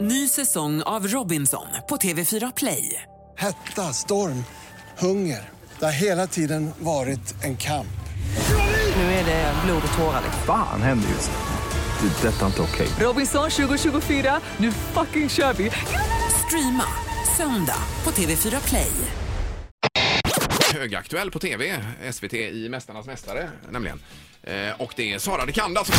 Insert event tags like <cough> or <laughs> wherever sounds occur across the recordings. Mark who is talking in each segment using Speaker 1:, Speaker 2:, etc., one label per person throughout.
Speaker 1: Ny säsong av Robinson på TV4 Play.
Speaker 2: Hetta, storm, hunger. Det har hela tiden varit en kamp.
Speaker 1: Nu är det blod och tårar. liksom.
Speaker 3: Fan händer just nu. Det. är Detta är inte okej.
Speaker 1: Robinson 2024, nu fucking kör vi! Streama söndag på TV4 Play.
Speaker 4: högaktuell på tv, SVT i Mästarnas mästare nämligen. Eh, och det är Sara Dekanda som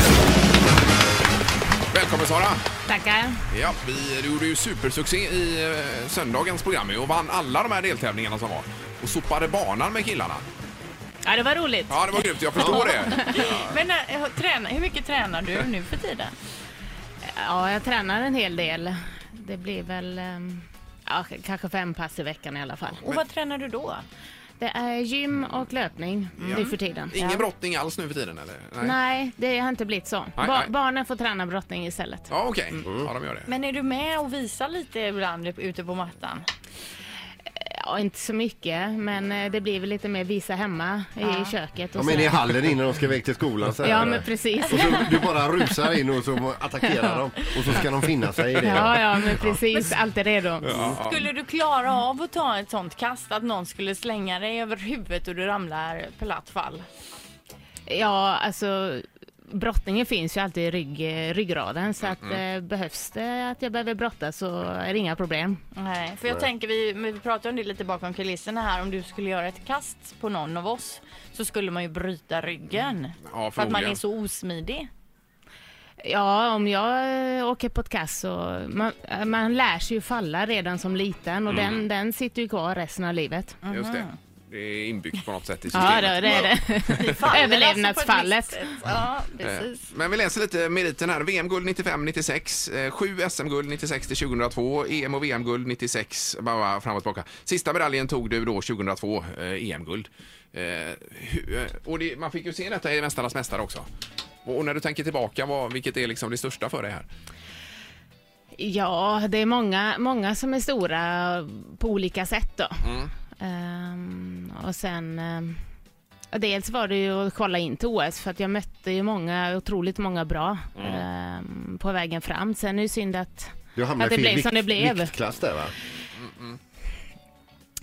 Speaker 4: Välkommen Sara!
Speaker 5: Tackar.
Speaker 4: Ja, vi, du gjorde ju supersuccé i eh, söndagens program ju och vann alla de här deltävlingarna som var. Och sopade banan med killarna.
Speaker 5: Ja, det var roligt.
Speaker 4: Ja, det var grymt, jag förstår det.
Speaker 5: Men eh, träna, hur mycket tränar du nu för tiden? Ja, jag tränar en hel del. Det blir väl ehm, ja, k- kanske fem pass i veckan i alla fall.
Speaker 6: Och vad tränar du då?
Speaker 5: Det är gym och löpning nu för tiden.
Speaker 4: Ingen
Speaker 5: Ja.
Speaker 4: brottning alls nu för tiden eller?
Speaker 5: Nej, det har inte blivit så.
Speaker 4: Nej,
Speaker 5: Ba-
Speaker 4: nej.
Speaker 5: Barnen får träna brottning istället.
Speaker 4: Ja, okej.
Speaker 5: Mm.
Speaker 4: Ja, de gör det.
Speaker 6: Men är du med och visar lite ibland ute på mattan?
Speaker 5: Ja, inte så mycket, men eh, det blir väl lite mer visa hemma i köket och
Speaker 7: De är nere i
Speaker 5: sådär.
Speaker 7: hallen innan de ska iväg till skolan. Så här.
Speaker 5: Ja, men precis.
Speaker 7: Och så du bara rusar in och så attackerar dem och så ska de finna sig i det.
Speaker 5: Ja, ja, men precis. Alltid redo.
Speaker 6: Skulle du klara av att ta ett sånt kast att någon skulle slänga dig över huvudet och du ramlar platt fall?
Speaker 5: Ja, alltså brottningen finns ju alltid i rygg, eh, ryggraden så att eh, behövs det att jag behöver brotta så är det inga problem.
Speaker 6: Nej, för jag tänker, vi, men vi pratade om det lite bakom kulisserna här, om du skulle göra ett kast på någon av oss så skulle man ju bryta ryggen.
Speaker 4: Ja,
Speaker 6: för att man
Speaker 4: förmodligen.
Speaker 6: är så <laughs> osmidig.
Speaker 5: Ja, om jag eh, åker på ett kast så man, eh, man lär sig ju falla redan som liten och den, den sitter ju kvar resten av livet.
Speaker 4: Just det. Det är inbyggt på något sätt i systemet.
Speaker 5: Mm. Ja, det, det är det.
Speaker 6: Vi faller alltså på ett
Speaker 5: Överlevnadsfallet.
Speaker 6: visst sätt. Ja, precis.
Speaker 4: Men vi läser lite meriten här. VM-guld 95-96, eh, sju SM-guld 96 till 2002, EM E och VM-guld 96, bara, bara fram och tillbaka. Sista medaljen tog du då 2002, eh, EM-guld. Eh, hu- eh, och det, man fick ju se detta i Mästarnas mästare också. Och och när du tänker tillbaka, vad, vilket är liksom det största för dig här?
Speaker 5: <laughs> Ja, det är många, många som är stora på olika sätt då. Ehm, och sen, ehm, dels var det ju att kolla in till OS för att jag mötte ju många, otroligt många bra ehm, på vägen fram. Sen är det synd att
Speaker 7: Du hamnar
Speaker 5: Ja, det
Speaker 7: i fel
Speaker 5: blev som det blev.
Speaker 7: viktklass där va?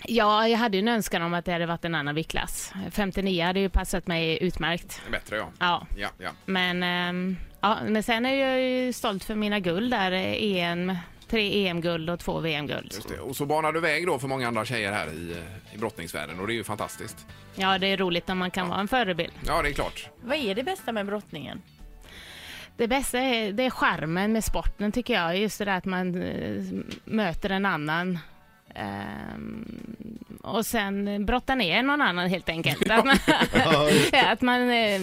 Speaker 5: Ja, jag hade ju en önskan om att det hade varit en annan viktklass. 59 hade ju passat mig utmärkt.
Speaker 4: Bättre ja.
Speaker 5: Ja,
Speaker 4: Ja, ja.
Speaker 5: men, ehm, ja, men sen är jag ju stolt för mina guld där. eh, EM, tre EM-guld och två VM-guld.
Speaker 4: Just det. Och så banar du väg då för många andra tjejer här i, eh, i brottningsvärlden och det är ju fantastiskt.
Speaker 5: Ja, det är roligt när man kan vara en förebild.
Speaker 4: Ja, det är klart.
Speaker 6: Vad är det bästa med brottningen?
Speaker 5: Det bästa är, det är charmen med sporten tycker jag. Just det där att man eh, möter en annan. ehm, och sen brottar ner någon annan helt enkelt. Att man, att man eh,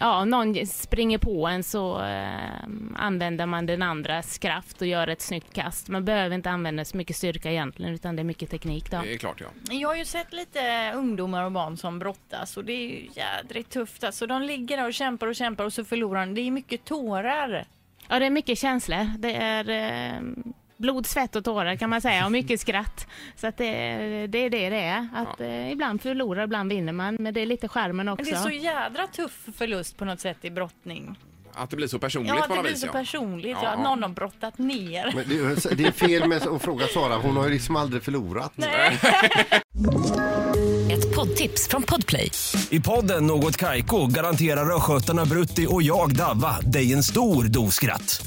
Speaker 5: ja, någon springer på en så ehm, använder man den andras kraft och gör ett snyggt kast. Man behöver inte använda så mycket styrka egentligen utan det är mycket teknik då.
Speaker 4: Det är klart ja.
Speaker 6: Jag har ju sett lite ungdomar och barn som brottas och det är ju jädrigt tufft. Alltså, de ligger där och kämpar och kämpar och så förlorar de. Det är mycket tårar.
Speaker 5: Ja, det är mycket känslor. Det är eh, blod, svett och tårar kan man säga och
Speaker 6: <laughs>
Speaker 5: mycket skratt. Så att det, det är det det är. Att, eh, ibland förlorar, ibland vinner man. Men det är lite skärmen också.
Speaker 6: Men det är så jädra tuff förlust på något sätt i brottning.
Speaker 4: Att det blir så personligt
Speaker 6: Ja,
Speaker 4: på
Speaker 6: det
Speaker 4: något
Speaker 6: blir
Speaker 4: vis
Speaker 6: så
Speaker 4: ja.
Speaker 6: personligt.
Speaker 4: Ja.
Speaker 6: Ja, att någon har brottat ner.
Speaker 7: Men det, är- det är fel med att fråga Sara, hon har ju liksom aldrig förlorat.
Speaker 8: Ett poddtips från Podplay.
Speaker 9: I podden Något Kaiko garanterar östgötarna Brutti och jag, Davva, dig en stor dos skratt.